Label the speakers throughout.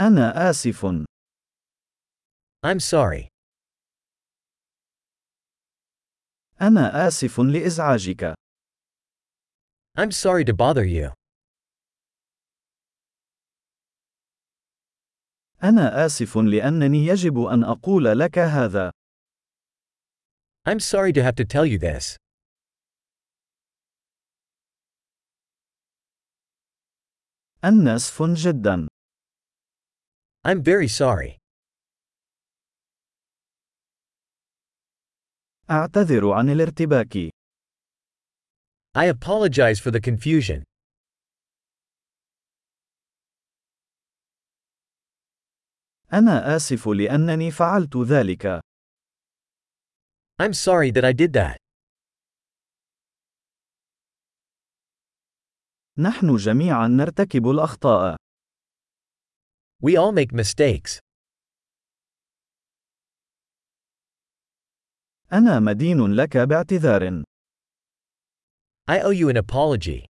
Speaker 1: أنا آسف.
Speaker 2: I'm sorry.
Speaker 1: أنا آسف لإزعاجك.
Speaker 2: I'm sorry to bother you.
Speaker 1: أنا آسف لأنني يجب أن أقول لك هذا.
Speaker 2: I'm sorry to have to tell you this.
Speaker 1: أنا آسف جدا.
Speaker 2: I'm very sorry.
Speaker 1: أعتذر عن الارتباك.
Speaker 2: I apologize for the confusion.
Speaker 1: أنا آسف لأنني فعلت ذلك.
Speaker 2: I'm sorry that I did that.
Speaker 1: نحن جميعا نرتكب الأخطاء.
Speaker 2: We all make mistakes.
Speaker 1: أنا مدين لك باعتذار.
Speaker 2: I owe you an apology.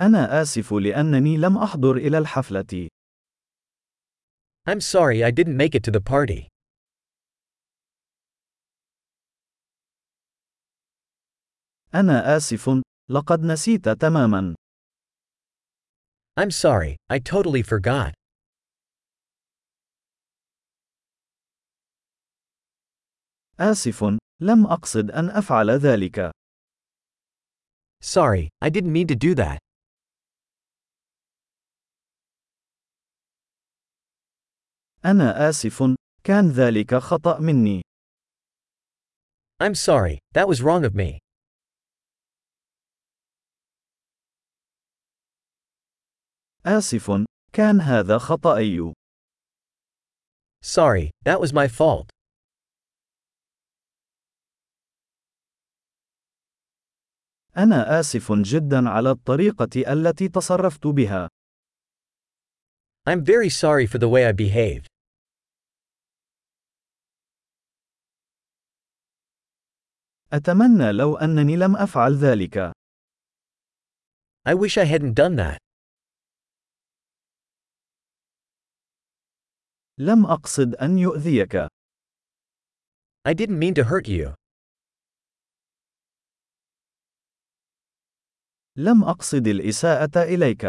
Speaker 1: أنا آسف لأنني لم أحضر إلى الحفلة.
Speaker 2: I'm sorry I didn't make it to the party.
Speaker 1: أنا آسف، لقد نسيت تماما.
Speaker 2: I'm sorry, I totally forgot.
Speaker 1: آسف، لم أقصد أن أفعل ذلك.
Speaker 2: Sorry, I didn't mean to do that.
Speaker 1: أنا آسف، كان ذلك خطأ مني.
Speaker 2: I'm sorry, that was wrong of me.
Speaker 1: آسف، كان هذا خطأي.
Speaker 2: Sorry, that was my fault.
Speaker 1: أنا آسف جدا على الطريقة التي تصرفت بها.
Speaker 2: I'm very sorry for the way I behaved.
Speaker 1: أتمنى لو أنني لم أفعل ذلك.
Speaker 2: I wish I hadn't done that.
Speaker 1: لم أقصد أن يؤذيك.
Speaker 2: I didn't mean to hurt you.
Speaker 1: لم أقصد الإساءة إليك.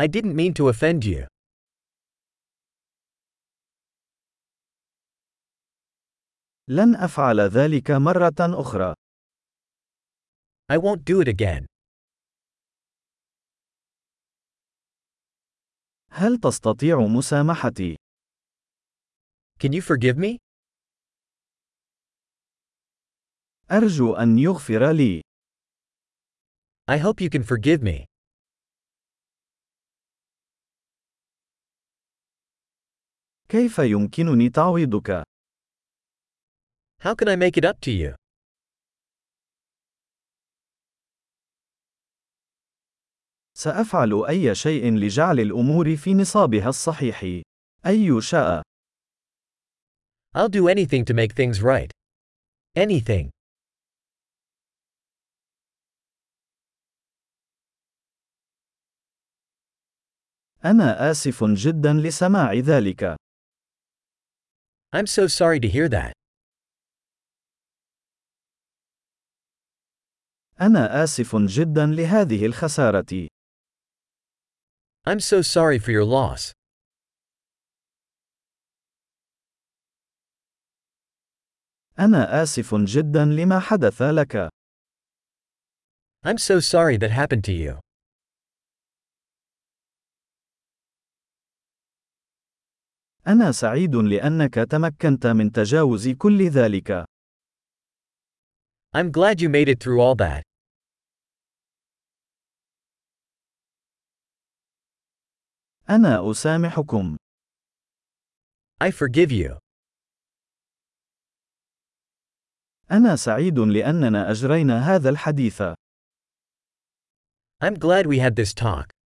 Speaker 2: I didn't mean to offend you.
Speaker 1: لن أفعل ذلك مرة أخرى.
Speaker 2: I won't do it again.
Speaker 1: هل تستطيع مسامحتي؟
Speaker 2: Can you forgive me?
Speaker 1: أرجو أن يغفر لي.
Speaker 2: I hope you can forgive me.
Speaker 1: كيف يمكنني تعويضك؟
Speaker 2: How can I make it up to you?
Speaker 1: سأفعل أي شيء لجعل الأمور في نصابها الصحيح. أي شاء.
Speaker 2: I'll do anything to make things right. Anything.
Speaker 1: أنا آسف جدا لسماع ذلك.
Speaker 2: I'm so sorry to hear that.
Speaker 1: أنا آسف جدا لهذه الخسارة.
Speaker 2: I'm so sorry for your loss.
Speaker 1: أنا آسف جدا لما حدث لك.
Speaker 2: I'm so sorry that happened to you.
Speaker 1: أنا سعيد لأنك تمكنت من تجاوز كل ذلك.
Speaker 2: I'm glad you made it through all that.
Speaker 1: أنا أسامحكم.
Speaker 2: I forgive you.
Speaker 1: أنا سعيد لأننا أجرينا هذا الحديث.
Speaker 2: I'm glad we had this talk.